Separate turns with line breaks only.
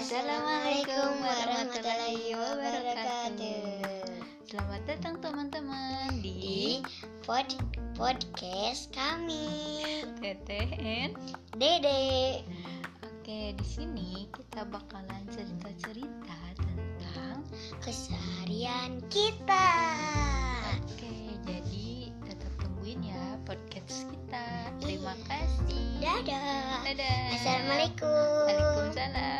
Assalamualaikum warahmatullahi wabarakatuh.
Selamat datang teman-teman
Di
di
pod podcast kami.
TTN.
Dede.
Oke, di sini kita bakalan cerita-cerita tentang
Keseharian kita.
Oke, jadi tetap tungguin ya podcast kita. Terima kasih.
Dadah.
Dadah.
Iya. Assalamualaikum.
Waalaikumsalam. Eh,